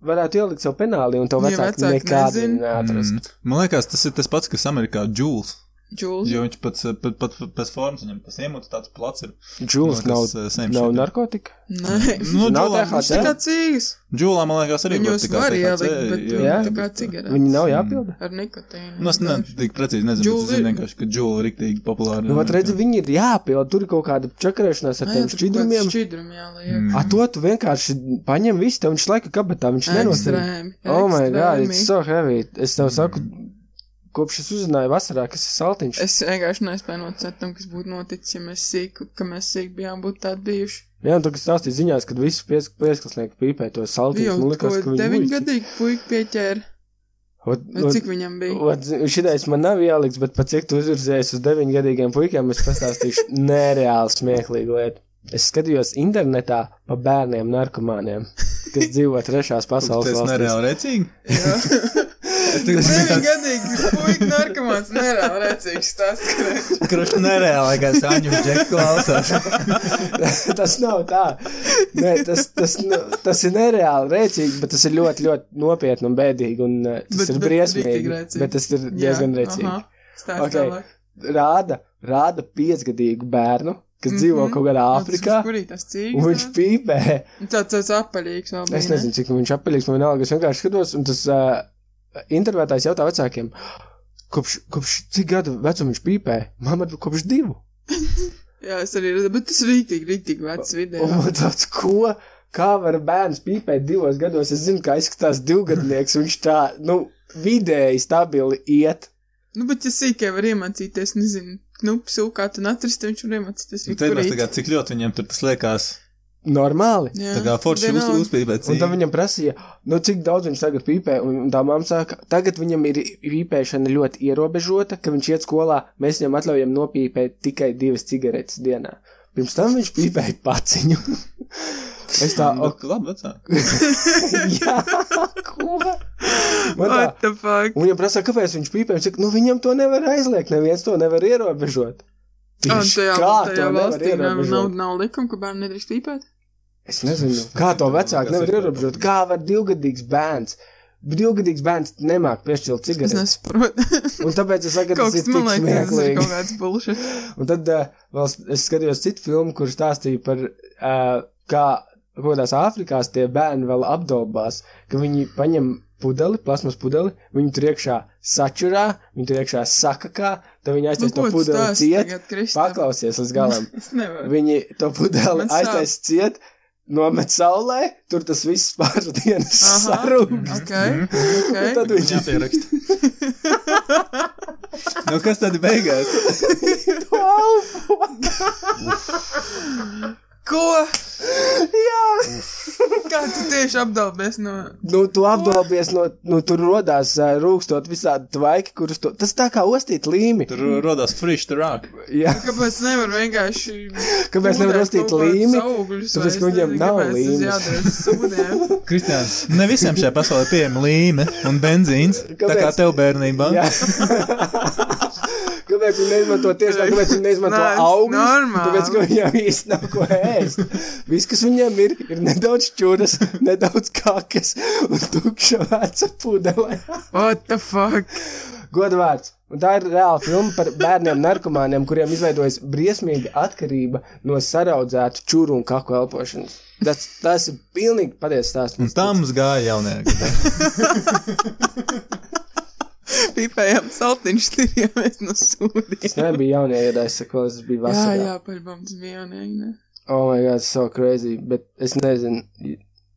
B: varētu ielikt sev penālī, un tev
C: Nu, Ja
B: vecāki
C: vecāki
B: nekad
C: nezin.
B: neatrast.
A: Mm. Man liekas, tas ir tas pats, kas Amerikā džūls.
C: džūlis.
A: Jo viņš pats eh, pat, pat, pēc formas viņam tas iemūts tāds plats ir.
B: Džūls nav,
A: Kas, eh, same
B: nav
A: shit.
B: narkotika.
C: Nē,
A: Nu,
B: Nav
A: džūlā,
B: THC?
C: viņš tā kā cīgas.
A: džūlā, man liekas, arī
C: Viņus
A: tā kā
C: var
A: THC,
C: ielikt, bet
A: jā.
B: jā,
C: jā, tā kā
A: bet, eh,
C: cigaretes.
B: Viņi nav jāpilda.
C: Ar nikotīnu.
A: Nu, es ne, tik precīzi nezinu,
C: Džūla
A: bet es zinu
C: ir.
A: vienkārši, ka džūla ir rīktīgi populāra.
B: Nu, vat redzi, viņi ir jāpilda. Tur ir kaut kāda čakarēšanās
C: Nu,
B: ar tiem šķidrumiem.
C: Šķidrumi, jā, lai
A: Mm.
C: iekšā.
B: A to tu vienkārši paņem visu, tev viņš laika kabatā, viņš nenostrādā.
C: Ekstrēmi.
B: Oh, my God,
C: ekstrēmi.
B: it's so heavy. Es tev saku,
A: Mm.
B: kopš es uzzināju vasarā, kas ir saltiņš.
C: Es vienkārši nespēju nocēt tam, kas būtu noticis, ja mēs sīk, ka mēs sīk bijām būt tādi bijuši.
B: Jā, un tu kas stāstīji ziņās, kad visi pies- pieskasnieki pīpē to
C: Bija
B: saltīšu. Man
C: jau
B: liekas, ka
C: kaut
B: viņi
C: deviņu gadīgi puika pieķēra. Vai cik viņam bija?
B: Šitais man nav ieliks, bet pat cik tu uzvirzējies uz deviņu gadīgiem puikiem, es pastāstīšu nereāli smieklīgu lietu. Es skatījos internetā pa bērniem narkomāniem, kas dzīvo trešās pasaules
A: Tas
B: valstīs.
A: nereāli recīgi.
C: Jā.
A: Es tikai
C: Deviņu
A: tāds
C: gadīgi puika narkomāns Nu, nereāli rēcīgs tas, ka
A: krušs nereāli, kā Sāņu Džeku klausās.
B: tas nav tā. Nē, tas, tas, nu, tas ir nereāli rēcīgi, bet tas ir ļoti, ļoti nopietni un bēdīgi. Un, eh, tas bet,
C: Bet-
B: ir
C: bet
B: briesmīgi.
C: riktīgi
B: Bet,
C: rēcīgi.
B: bet tas ir diezgan rēcīgi. Ok.
C: Stāst tālāk.
B: Rāda, rāda piecgadīgu bērnu, kas dzīvo
C: Mhm.
B: kaut kādā Āfrikā.
C: Kurī tas
B: Un viņš
C: cīgas?
B: pīpē.
C: Tāds tāds apaļīgs vēl bija.
B: Es
C: ne?
B: nezinu, cik viņš apaļīgs man vienalga. Es vienkārši skatos, un tas uh, intervētājs jautā vecākiem, kopš, kopš cik gadu vecuma viņš pīpē? Mamma, nu, kopš divu.
C: Jā, es arī redzu, bet tas ir rīktīgi, rīktīgi vecs video.
B: Un man tāds, ko? Kā var bērns pīpēt divos gados? Es zinu, kā izskatās divgadnieks. Viņš tā, nu, vidēji stabili iet.
C: Nu, bet ja sīkā var iemācīties, nezinu, nu, sūkāt un atrast, viņš var iemācīties.
A: Un Te mēs tā kā cik ļoti viņiem tur tas liekas.
B: Normāli.
C: Jā,
A: Tā kā forši uz,
C: vienalga.
A: uzpīpēt.
B: Un tad viņam prasīja, nu, cik daudz viņš tagad pīpē. Un un tā mamma saka, tagad viņam ir pīpēšana ļoti ierobežota, ka viņš iet skolā. Mēs viņam atļaujam nopīpēt tikai divas cigaretes dienā. Pirms tam viņš pīpēja paciņu. es tā,
C: Nu.
A: Ok,
B: ok,
A: Mm, labi, vecāk.
B: jā, ko? Man tā,
C: What the fuck?
B: Un viņam prasa, kāpēc viņš pīpē. Viņš saka, nu viņam to nevar aizliegt, neviens to nevar ierobežot.
C: Un
B: Tieši
C: tajā,
B: kā
C: tajā
B: to nevar
C: valstī nu, nav, nav,
B: ierobežot?
C: nav likuma, ka bērni nedrīkst pīpēt.
B: Es nezinu, kā to vecāki nevar ierobežot. Kā var divgadīgs bērns? Divgadīgs bērns nemāk piešķirt
C: Es
B: cigaretes.
C: nesaprotu.
B: Un tāpēc es saku, ka
C: Kaut
B: tas
C: kas
B: ir tik
C: man liekas, tas ir
B: smieklīgi.
C: kaut kāds bullshit.
B: Un tad uh, vēl s- es skatījos citu filmu, kur stāstīja par uh, kā kādās Āfrikās tie bērni vēl apdobās, ka viņi paņem pudeli, plasmas pudeli, viņi tur iekšā sačurā, viņi tur iekšā sakakā, tad viņi
C: Nu,
B: aiztaisa
C: ko
B: to
C: tu
B: pudeli
C: stāsti
B: ciet,
C: tagad, Kristā?
B: paklausies līdz galam.
C: Es nevaru.
B: Viņi to pudeli
C: Man sāp.
B: aiztaisa ciet, nomet saulē, tur tas viss pāris dienas
C: Aha.
B: sarūgs.
C: Ok,
A: Mm.
B: Un
C: ok.
B: Nu, tad viņi
A: Jāpierakst. nu, kas tad beigās?
C: Ko?
B: Jā!
C: Kā tu tieši apdalbies no...
B: Nu, tu apdalbies, no, nu, tur radās rūkstot visādi tvaiki, kurus tu. Tas tā kā ostīt līmi.
A: Tur rodās fresh rock.
B: Jā,
C: Kāpēc nevar vienkārši...
B: kāpēc nevar ostīt līmi? Tāpēc, ka viņiem nav līmes.
C: līmes.
A: Kristians, ne visiem šajā pasaulē pieejama līme un benzīns. Tā kā
B: Kāpēc?
A: tev bērnībā.
B: Jā. kāpēc viņi neizmanto tieši tā, kāpēc viņi neizmanto
C: Nē,
B: augļus?
C: normāli.
B: Tāpēc, ka viņiem īsti nav ko ēst. Viss, kas viņiem ir, ir nedaudz čūras, nedaudz kakas un tukša veca pudelē.
C: What the fuck?
B: Godvārds. Un tā ir reāla filma par bērniem, narkomāniem, kuriem izveidojas briesmīga atkarība no saraudzētu čūru un kaku elpošanas. Tas, tas ir pilnīgi patiesa stāsts.
A: Un tā mums gāja jaunajā gadā.
C: Pīpējām saltiņš tirjāmies no
B: Tas
C: sūdiem.
B: nebija jaunie iedājas, ko es biju
C: Jā,
B: vasarā.
C: jā, par bumbu zvionīgi, ne?
B: Oh, my God, so crazy, bet es nezinu,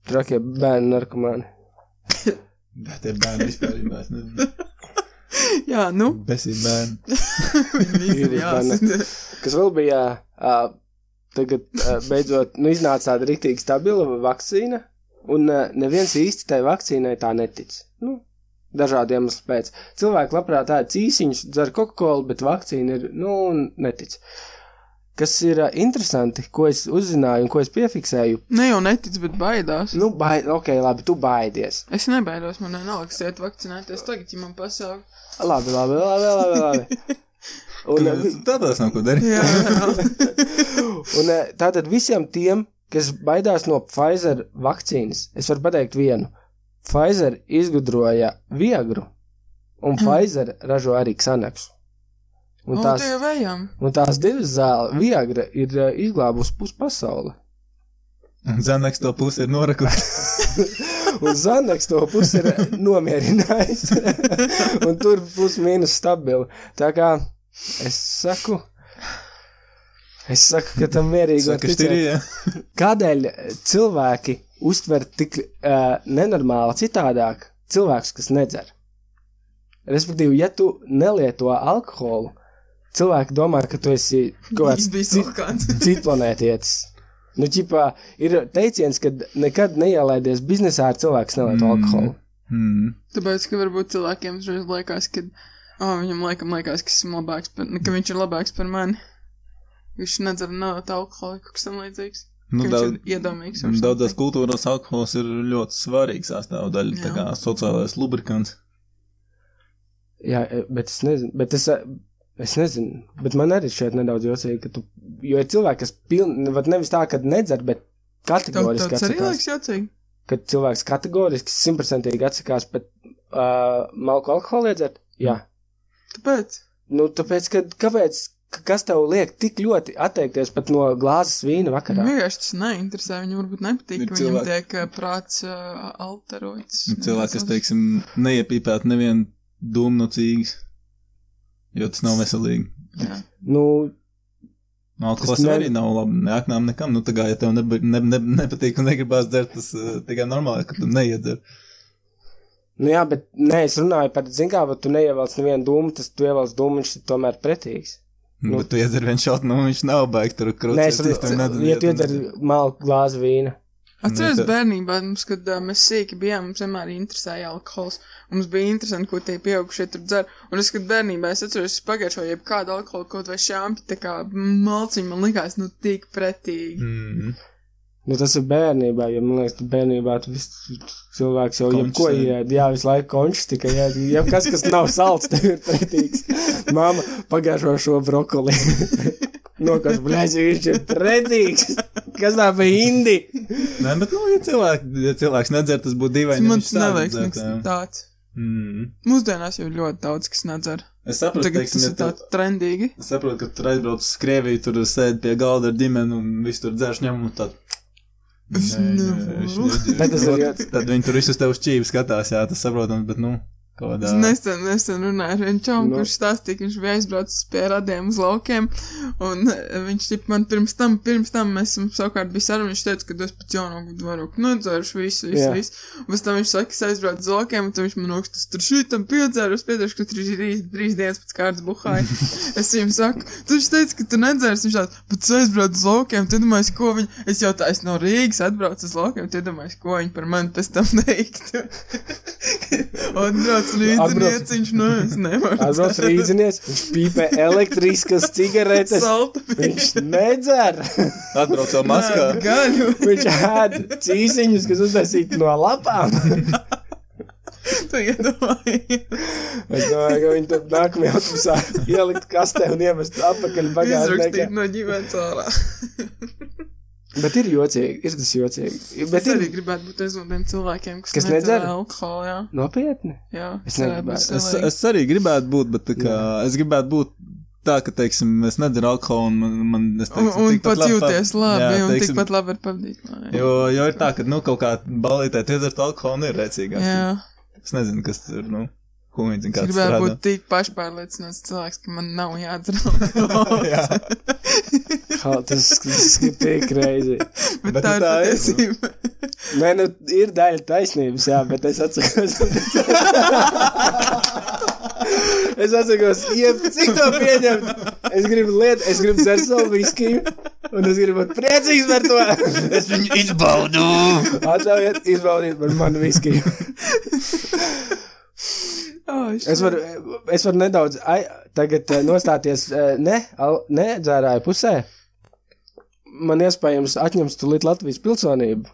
B: trakie bērni narkomāni.
A: Bet tie bērni vispār ir nezinu.
C: Jā, nu,
A: Besīt bērni.
C: viņi visi ir
B: Vīrus
C: jāsadzird.
B: Kas vēl bija, uh, tagad uh, beidzot, nu iznāca tāda rīktīgi stabila vakcīna, un uh, neviens īsti tai vakcīnai tā netic. Nu, Dažādu iemeslu pēc. Cilvēki labprāt ēd cīsiņus, dzer kokolu, bet vakcīna ir, nu, netic. Kas ir ā, interesanti, ko es uzzināju un ko es piefiksēju.
C: Ne jau netic, bet baidās.
B: Nu, baid, ok, labi, tu baidies.
C: Es nebaidos, man nenāks iet vakcinēties tagad, ja man pasaule.
B: Labi, labi, labi, labi. labi. Un, eh,
A: Tādās nav ko darīt.
C: Jā, jā.
B: Un eh, tātad visiem tiem, kas baidās no Pfizer vakcīnas, es varu pateikt vienu. Pfizer izgudroja viegru, un Pfizer ražo arī ksanaksu. Un
C: Un
B: Nu, tās,
C: tie Nu, vējām.
B: un tās divas zāles, viagra, ir eh, izglābusi pusi pasauli.
A: Zanaks to pusi ir norakusi.
B: Un Zanaks to pusi ir eh, nomierinājis. un tur plus mīnus stabili. Tā kā es saku, es saku, ka tam mierīgi var
A: Saka,
B: ticēt.
A: štirī, jā.
B: Kādēļ cilvēki uztver tik uh, nenormāli citādāk cilvēkus, kas nedzer? Respektīvi, ja tu nelieto alkoholu, cilvēki domā, ka tu esi kaut kāds
C: Tas bija silkāns.
B: citplanētietis. Nu, ķipā, ir teiciens, ka nekad neielaidies biznesā ar cilvēku, kas nelieto
A: Mm.
B: alkoholu.
A: Mm.
C: Tāpēc, ka varbūt cilvēkiem šoreiz liekas, ka oh, viņam laikam liekas, ka, esmu labāks par, ka viņš ir labāks par mani. Viņš nedzer nav alkohola, kaut kas tam līdzīgs.
A: Nu,
C: Nu,
A: daudz, nu,
C: daudz, ir iedomīgs. or
A: Daudzās
C: something.
A: kultūrās alkohols ir ļoti svarīgs sastāvdaļa, tā
C: Jā.
A: kā sociālais lubrikants.
B: Jā, e, bet es nezinu, bet es, e, es nezinu, bet man arī šeit nedaudz jocīgi, ka tu, jo ir cilvēki, kas pilnīgi, nevis tā, ka nedzer, bet
C: Tev
B: kategoriski
C: tas arī
B: atsakās.
C: liekas jocīgi.
B: kad cilvēks kategoriski simtprocentīgi atsakās pat uh, malku alkoholu iedzert? Jā.
C: Tāpēc.
B: Nu, tāpēc, kad, kāpēc, ka- kas tev liek tik ļoti atteikties pat no glāzes vīna
C: Viņam
B: vakarā?
C: vienkārši tas neinteresē. Viņam varbūt nepatīk,
A: Ir
C: ka viņam
A: cilvēki-
C: tiek ā, prāts uh, alterots.
A: Cilvēks, kas, teiksim, neiepīpētu nevienu dūmu no cīgas, jo tas nav veselīgi.
C: Jā.
B: Nu,
A: No alkohols
B: Tas ne-
A: jau arī nav labi, ne aknām nekam. Nu, tā kā, ja tev neb ne ne nepatīk un negribās dzert, tas eh, tikai normāli, ka tu neiedzer.
B: nu jā, bet nē, es runāju par, zin kā, bet tu neievelc nevienu dūmu, tas tu ievelc dūmu, viņš ir tomēr pretīgs. Nu.
A: Nu. Bet tu iedzer vienu šādu, nu viņš nav baigts tur krūtis.
B: Nē, es runāju, ja tu iedzer malku glāzi vīna.
C: Atceros
A: Nu, tā-
C: bērnībā, mums, kad uh, mēs sīki bijām, mums vienmēr interesēja alkohols. Mums bija interesanti, ko tie pieaugušie tur dzer. Un es, kad bērnībā es atceros, es pagaišo jeb kādu alkoholu, kaut vai šāmpi, tā kā malciņu man likās, nu, tik pretīgi.
A: Mm.
B: Nu, tas ir bērnībā, jo man liekas, ka bērnībā tu visu cilvēks jau
A: Končus
B: jebko
A: ēd.
B: ied, jā, visu laiku končus tikai ied, jau kas, kas nav salds, tev ir pretīgs. Māma pagāžo šo brokoli. Nokas, blēzi, viņš ir pretīgs. Kas tā bija indi?
A: Nē, bet, nu, ja, cilvēks, ja cilvēks nedzer, tas būtu
C: Tas
A: dīvaini.
C: man
A: viņš
C: tas
A: sāk
C: nevajag
A: dzert,
C: nekas
A: jā.
C: tāds.
A: Mm.
C: Mūsdienās jau ir ļoti daudz, kas nedzer.
A: Es saprotu,
C: Tagad
A: teiksim,
C: tas
A: ja
C: ir
A: tu-
C: tāds trendīgi.
A: Es saprotu, ka tur aizbrauc uz Krieviju, tur sēž pie galda ar ģimeni un viss tur dzērš ņem un tā.
C: Es nevaru.
B: Bet tas ir
A: ļoti.
B: ļoti-
A: Tad viņi tur visus tev uz čīvi skatās, jā, tas saprotams, bet nu, kaut
C: Es
A: kādā.
C: nesen, nesen runāju ar vienu čomu,
B: Nu.
C: no. kurš stāstīja, ka viņš bija aizbraucis pie radiem uz laukiem, un eh, viņš tip, man pirms tam, pirms tam mēs esam savukārt bija saruna, viņš teica, ka es pēc jauno gadu varu nodzēruši visu, visu,
B: Jā.
C: yeah. visu. Un pēc tam viņš saka, es aizbraucu uz laukiem, un tad viņš man rakstas, tur šitam piedzēru, es piedzēru, ka tur ir trīs, trīs dienas pēc kārtas buhāja. es viņam saku, tu viņš teica, ka tu nedzērs, viņš tāds, bet es aizbraucu uz laukiem, tad domāju, ko viņi, es jau tā, es no Rīgas atbraucu uz laukiem, tad domāju, ko viņi par mani pēc tam teiktu.
B: Atbrauc.
C: Atbrauc līdzi, viņš no jums nevar.
B: Azos rīdzinies, viņš pīpē elektriskas cigaretes.
C: Salta
B: Viņš nedzer.
A: Atbrauc jau maskā.
C: gaļu.
B: Viņš ēd cīziņus, kas uztaisīti no lapām.
C: Tu iedomājies.
B: Es domāju, ka viņi tur nākamajā autobusā ielikt kastē un iemest apakaļ bagāžniekā.
C: Izrakstīt no ģimenes ārā.
B: Bet ir jocīgi, ir tas jocīgi.
C: Bet
B: Bet
C: es
B: ir
C: arī gribētu būt viens no tiem cilvēkiem, kas,
B: Kas
C: nedzer
B: nedzer?
C: alkoholu, jā.
B: nopietni.
C: jā
B: Es
C: varētu
B: negribētu.
C: būt
A: Es,
C: silīgi.
A: es arī gribētu būt, bet tā kā, es gribētu būt tā, ka, teiksim, es nedzeru alkoholu un man, man es
C: Un,
A: teiksim,
C: un
A: tikpat
C: pats
A: labi pa-
C: jūties labi,
A: Jā,
C: jā, un
A: teiksim,
C: tikpat labi var pavadīt. laiku.
A: Jo, jo ir tā, ka, nu, kaut kā balītē iedzert alkoholu un ir rēcīgāk.
C: Jā,
A: Es nezinu, kas tur, nu, ko viņi zina,
C: es
A: kāds
C: gribētu
A: strādā.
C: būt tik pašpārliecināts cilvēks, ka man nav jādzer alkohols.
A: Jā.
B: Kā, Tas, tas ir tik reizi.
C: Bet,
A: Bet
C: bet tā
A: nu tā ir,
C: ir
A: nu.
C: patiesība.
B: Nē, nu, ir daļa taisnības, jā, bet es atceros. es atceros, jeb, cik to pieņemt. Es gribu lietu, es gribu dzert savu viskiju, un es gribu būt priecīgs par to.
A: Es viņu izbaudu!
B: Atļaujiet izbaudīt par manu viskiju.
C: dzērājis.
B: Es varu, es varu nedaudz ai, tagad eh, nostāties eh, ne, al, ne dzērāju pusē. Man iespējams atņems tu līdz Latvijas pilsonību.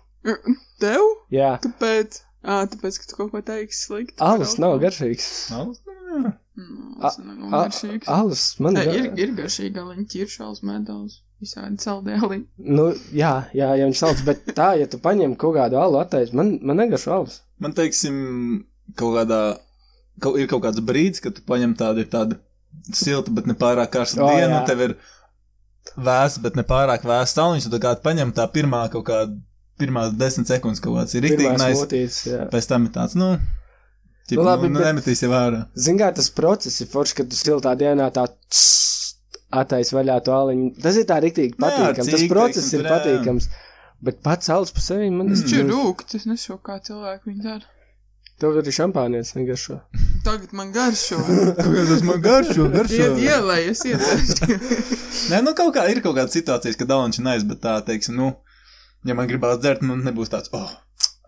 C: Tev?
B: Jā,
C: Kāpēc? Ā, tāpēc, ka tu kaut ko teiksi slikti. par
B: alus nav
C: alkoholu.
B: garšīgs.
A: Nav? Jā.
C: Mm,
B: A-
C: alus nav
B: A-
C: garšīgs.
B: Alus man
C: Nē,
B: ir.
C: ir, ir garšīga liņa, ķiršāls medaļas, visādi saldēli.
B: Nu, jā, jā, ja viņš sauc, bet tā, ja tu paņem kaut kādu alu attaisu, man, man negaršo alus.
A: Man teiksim, kaut kādā, kaut, ir kaut kāds brīdis, kad tu paņem tādu, ir tāda silta, bet ne pārāk karsta
B: O,
A: oh, diena,
B: jā.
A: un tev ir vēsts, bet ne pārāk vēsts stāvniņš, un tu kā paņem tā pirmā kaut kāda, pirmās desmit sekundes kaut kāds ir
B: Pirmās
A: rīktīgi nais,
B: mūtītes, jā.
A: pēc tam ir tāds, nu, ķip, nu, labi,
B: labi,
A: nu
B: bet-
A: nemetīs jau ārā.
B: Zini, kā tas process ir forši, kad tu siltā dienā tā attaisno vaļā to aliņu. Tas ir tā rīktīgi
A: Nu jā,
B: patīkams. Tas
A: cīk,
B: process
A: teiksim,
B: ir
A: tur, jā.
B: patīkams. Bet pats alus par sevi man
C: Tas
A: Mm.
C: ir rūkts, es nesu, kā cilvēki viņu dara.
B: Tev ir šampānietis vienkārši.
C: Tagad man garšo.
A: Kāpēc tas man garšo,
C: Iet ielējas, iet.
A: Nē, nu kaut kā ir kaut kāda situācija, kad daunči nais, bet tā, teiksim, nu, ja man gribās dzert, man nebūs tāds, oh,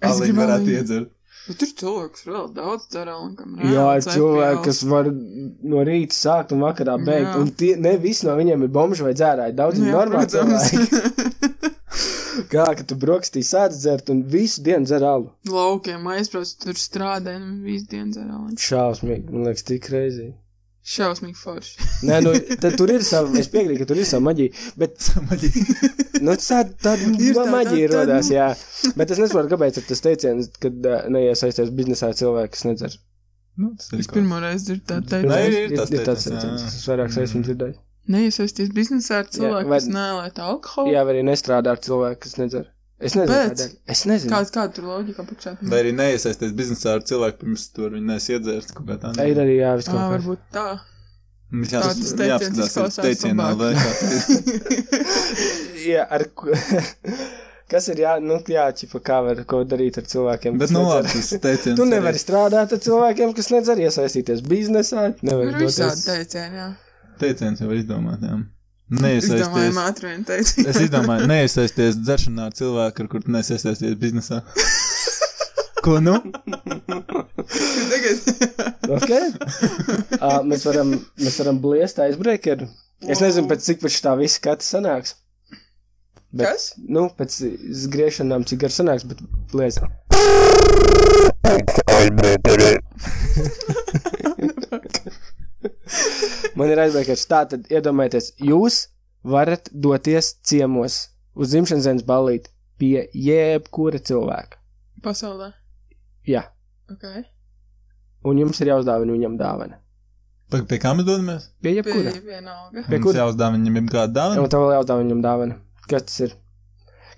C: Es
A: Alīgi
C: gribu
A: varētu
C: aliņu.
A: iedzert.
C: Bet tur cilvēks vēl daudz dara un kam reāli
B: Jā, ir
C: cep
B: cilvēki,
C: jau.
B: kas var no rīta sākt un vakarā beigt.
C: Jā.
B: Un tie, ne visi no viņiem ir bomži vai dzērāji. Daudz
C: Nu
B: ir
C: jā,
B: normāli.
C: protams.
B: cilvēki. Kā, ka tu brokastī sēdz dzert un visu dienu dzer alu.
C: Laukiem aizbrauc, tur strādāja un visu dienu dara aliņu.
B: Šausmīgi, man liekas, tik reizī.
C: Šausmīgi forši.
B: Nē, nu, tad tur ir sava, es piekrītu, ka tur ir sava maģija, bet
A: Samaļīgi.
B: Nu, tāda tād,
C: Ir tā-
B: tād, maģija
C: tā- tā-
B: radās, jā. Bet es nesaprotu, kāpēc ir tas teiciens, ka neiesaistās biznesā cilvēki, kas nedzer.
A: Nu, tas ir
C: Es pirmo reizi dzirdu tādu
A: Nē,
C: teikumu.
A: ir- ir tas
B: ir tāds
A: teiciens, jā.
B: teiciens, kas vairāk
A: Mm.
B: esmu dzirdējis.
C: Neiesaisties biznesā ar cilvēku,
B: vai-
C: kas nelēta alkoholu.
B: Jā, vai arī nestrādā ar cilvēku, kas nedzer. Es nezinu,
C: Kāpēc?
B: kādēļ. Es nezinu.
C: Kāda kā tur loģika apakšā?
A: Vai arī neiesaisties biznesā ar cilvēku, pirms to viņu nesiedzērt kaut kā tādā.
B: Kā... Ir arī jā, viss
C: Tā
B: kaut
C: varbūt tā.
A: Mums
C: Tā tas teiciens izklausās
A: teicienā,
C: labāk.
A: vai kā tas ir.
B: kas. Jā, ar... ko- Kas ir jā, nu, jā, čipa, kā var ko darīt ar cilvēkiem,
A: Bet
B: kas
A: nu
B: nedzer.
A: labi, tas teiciens.
B: Tu nevari strādāt ar cilvēkiem, kas nedzer, iesaistīties biznesā,
C: Ir
B: nevari
C: Nu, visādi
B: doties.
C: teicieni, jā.
A: arī- Teiciens jau var izdomāt, jā.
C: Izdomājam
A: Neiesaisties.
C: ātri vien teicienu.
A: Es izdomāju, neiesaisties dzeršanā ar cilvēku, ar kuru tu neiesaisties biznesā. Ko nu?
C: Tagad.
B: Okay. Uh, mēs, varam, mēs varam bliest aizbraukeru. Es nezinu, pēc cik pēc tā visa skata sanāks. Bet,
C: Kas?
B: Nu, pēc griešanām cik gar sanāks, bet bliest. Man ir aizbraukers. Tā tad iedomājieties, jūs varat doties ciemos uz dzimšanas dienas ballīti pie jebkura cilvēka.
C: Pasaulē.
B: Jā.
C: Ok.
B: Un jums ir jāuzdāvina viņam dāvana.
A: Pag- Pie kā mēs dodamies?
B: Pie jebkura.
C: Bija vienalga.
B: Pie
A: Mums
B: kura?
A: jāuzdāvina viņam jau kāda
B: Un
A: dāvana.
B: tev vēl jautā viņam dāvana. Kas tas ir?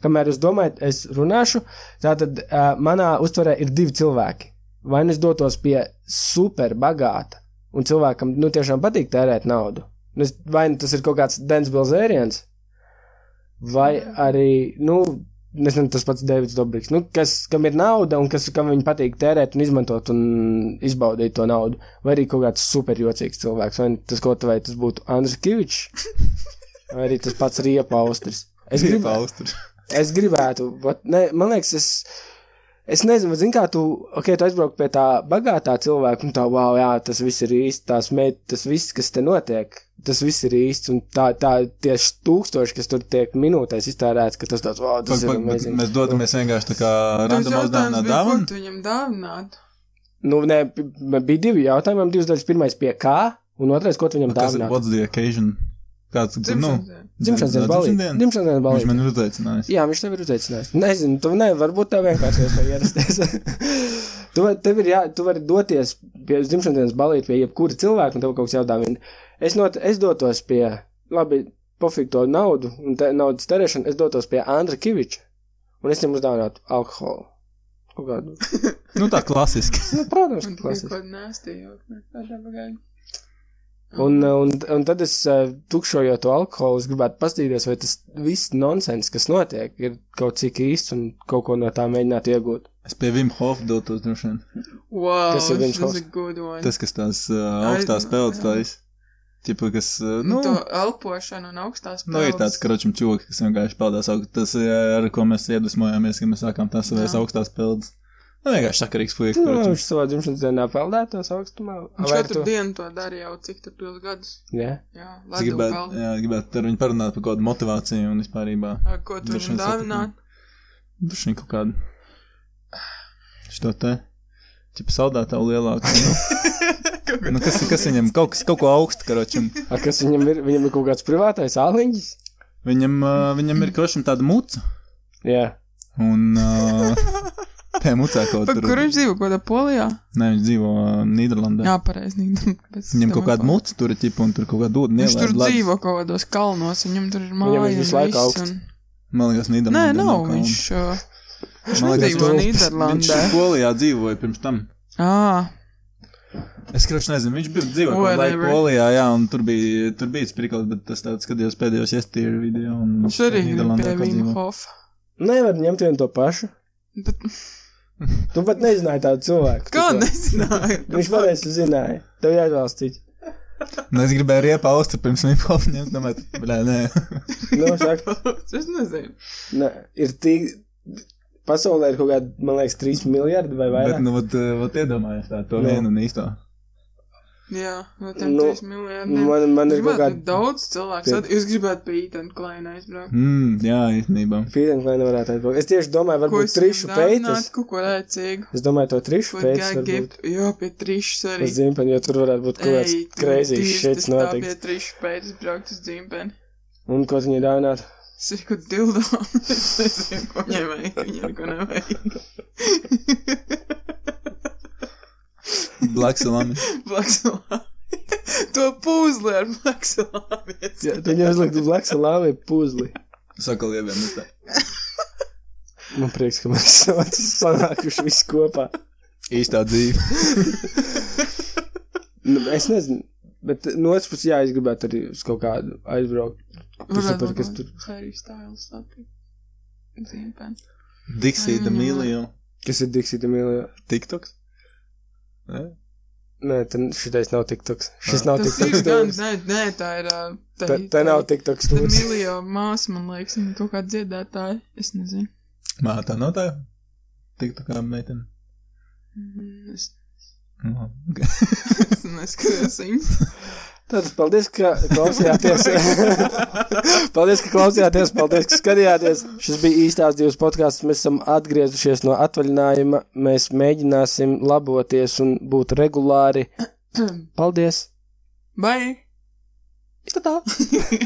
B: Kamēr jūs domājat, es runāšu, tātad uh, manā uztverē ir divi cilvēki. Vai nu es dotos pie superbagāta, un cilvēkam nu, tiešām patīk tērēt naudu. Nu, es- Vai nu tas ir kaut kāds Dens Bilzēriens, vai arī, nu, nezinu, tas pats Deivids Dobriks, nu, kas, kam ir nauda un kas, kam viņa patīk tērēt un izmantot un izbaudīt to naudu. Vai arī kaut kāds superjocīgs cilvēks, vai nu tas kaut vai tas būtu Andris Kavičs. Vai arī tas pats riepa austris. Es, grib,
A: austru.
B: es gribētu, bet ne, man liekas, es, es nezinu, zin, kā tu, okay, tu aizbrauc pie tā bagātā cilvēka, un tā, wow, jā, tas viss ir īsts, tās meitas, tas viss, kas te notiek, tas viss ir īsts, un tā, tā tieši tūkstoši, kas tur tiek minūtēs iztērēts, ka tas tāds, wow, tas
A: Pag,
B: ir
A: pag, bet
B: amazing.
A: mēs dodamies vienkārši tā kā
C: Tas
A: random
C: jautājums
A: uzdāvinā
C: bija, ko
A: dāvanu.
C: tu viņam dāvināt.
B: Nu, nē, pi- man bija divi jautājumi, man bija divas daļas, pirmais pie kā, un otrais, ko tu viņam
A: Kas ir
B: dāvinā.
A: what's the occasion? Kāds, nu,
C: Dzimšanas dienā.
B: Dzimšanas dienas balīti.
A: Dzimšanas diena.
B: Dzimšanas dienas
A: Viņš
B: balīti.
A: man ir uzaicinājis.
B: Jā, viņš tev ir uzaicinājis. Nezinu, tu ne, varbūt tev vienkārši ir ierasties. tu, va- tev ir jā, tu vari doties pie uz dzimšanas dienas balīt pie jebkura cilvēka, un tev kaut kas jādāvina. Es, not, es dotos pie, labi, pofīgi to naudu un te, naudas terēšanu, es dotos pie Andra Kiviča, un es viņam uzdāvinātu alkoholu. Kaut kādu.
A: Nu, tā klasiski.
B: Nu, protams,
C: Man
B: ka
C: tikai
B: klasiski.
C: kaut nēstījot. Tādā pagaidā.
B: Un, un, un tad es eh, tukšojot to alkoholu, es gribētu paskatīties, vai tas viss nonsens, kas notiek, ir kaut cik īsts un kaut ko no tā mēģināt iegūt.
A: Es pie Vim Hofa dotos droši vien.
C: Wow,
B: Kas ir viens
C: tas
B: hosts?
C: ir good one.
A: Tas, kas tās uh, augstās
C: Aiz-
A: peldas
C: jā.
A: tājas. Tipa, kas, uh, nu,
C: Nu, to elpošanu un augstās
A: nu, ir tāds karočam čoki, kas vienkārši peldās augstās. Tas, uh, ar ko mēs iedvesmojāmies, kad mēs sākām tās savas
C: Jā.
A: augstās peldas. Nu, vienkārši sakarīgs puisis.
B: Nu,
A: Nu,
B: viņš savā dzimšanas dienā peldētos augstumā.
C: Viņš
B: Vai
C: katru
B: tu-
C: dienu to darīja jau cik tur tos gadus.
B: Jā,
C: Jā,
A: es
C: labi.
A: gribētu, jā, gribētu ar viņu parunāt par kaut kādu motivāciju un vispārībā.
C: Ko tu
A: Droši
C: viņam
A: vien
C: dāvināt?
A: Viņš kaut kādu šo te. Čipa saldētāju lielāku. Nu, nu, kas, kas viņam kaut, kas, kaut ko augstu karočam?
B: A, kas viņam ir? Viņam ir kaut kāds privātais āliņģis.
A: Viņam, uh, viņam ir karočam tāda muca.
B: Jā,
A: Un uh, tajā mucā kaut
C: Pa
A: tur.
C: kur viņš dzīvo? Kaut kādā polijā?
A: Nē, viņš dzīvo uh, Nīderlandē.
C: Jā, pareizi. Viņam
A: Viņam kaut kāda muca tur ir, ķipa, un tur kaut kāda dūda.
C: Viņš tur
A: nelaid.
C: dzīvo kaut kādos kalnos, viņam tur ir
B: ir
C: māja. un
B: visu laiku
C: viss,
B: augsts.
C: un-
A: Man liekas, Nīderlandē.
C: Nē, nav
A: kaut kā-
C: viņš. uh, Viņš
A: Man liekas,
C: nedzīvo
A: tur-
C: Nīderlandē.
A: Viņš Polijā dzīvoja pirms tam.
C: Ā,
A: Es kurš nezinu, viņš bija dzīvojis kaut kādā
C: Whatever.
A: Polijā, jā, un tur bija, tur bija spriklis, bet tas tāds skatījos pēdējos iestīru video. un
C: viņš arī ir
A: Nīderlandē
C: pie
A: kaut dzīvo.
C: Vimhofa.
B: nevar ņemt vienu to pašu.
C: Bet
B: Tu pat nezināji tādu cilvēku.
C: kā
B: tikko.
C: nezināju?
B: Viņš pareizi zināja. Tev jāizvēlas cits.
A: Nu, es gribēju riepa austu pirms Nīderlandes ņemt, domāju, tad, bļā, nē.
B: Nu, saka,
C: Es nezinu.
B: ne, ir tik. Pasaulē ir kaut kāda, man liekas, 3 miljardi vai
A: Bet,
B: vairāk.
A: nu, vat, eh, vat iedomājies tā, to
B: Nu.
A: vienu un īsto.
C: Jā, no tiem
B: Nu,
C: 3 miljoniem.
B: Man, man ir kaut
C: Gribētu
B: kāda
C: kād... daudz cilvēku.
B: Pie-
C: Sad... Jūs gribētu pie Ethan Kleina aizbraukt.
A: Mm, jā, īstenībā.
B: Fīdenklaina varētu atbraukt. Es tieši domāju, varbūt trišu peitas.
C: Kaut ko rēcīgu.
B: Es domāju, to trišu
C: Ko
B: peitas varbūt
C: gājiet? Jā, pie trišas arī.
B: uz dzimpeni, jo tur varētu būt kaut
C: Ei,
B: kāds
C: tu
B: kreizīs
C: divs,
B: šeit
C: tas Tā
B: notikt.
C: pie trišas pēdas braukt uz dzimpeni.
B: Un ko viņai dāvināt?
C: Saku, dildo. Es nezinu, ko viņai vajag. Viņai ko nevajag.
A: Black salami.
C: Blaksalāmi. to pūzli ar blaksalāmi.
B: Viņa uzlika blakus lāvai puzli.
A: Saka, liebiem, nu tā.
B: Man prieks, ka mēs esam sanākuši visi kopā.
A: Īstā dzīve.
B: Nu, es nezinu, bet no otras puses, jā, es gribētu arī uz kaut kādu aizbraukt. saprati, kas tur-
C: Harry Styles satikt. Dzimpeni.
A: Dixie,
C: Mm.
A: the million.
B: Kas ir Diksita Mīlija?
A: TikToks? Nē?
B: Nē, ten šitais nav tiktoks. Šis nav
C: Tas ir
B: tiktoks.
C: gan,
B: stūris.
C: nē, nē, tā ir. ā,
B: Te te nav tiktoks.
C: Tā ir
B: stūris.
C: Emīlija māsa, man liekas, viņa kaut kā dziedātāja. Es nezinu.
A: Mā, tā nav tā. TikTokā meitene.
C: Mm, Es,
A: Nu, ok.
C: es neskatījos viņas.
B: Tad paldies, ka klausījāties. paldies, ka klausījāties. Paldies, ka skatījāties. Šis bija īstās divas podkāsts. Mēs esam atgriezušies no atvaļinājuma. Mēs mēģināsim laboties un būt regulāri. Paldies!
C: Bye!
B: Tā tā!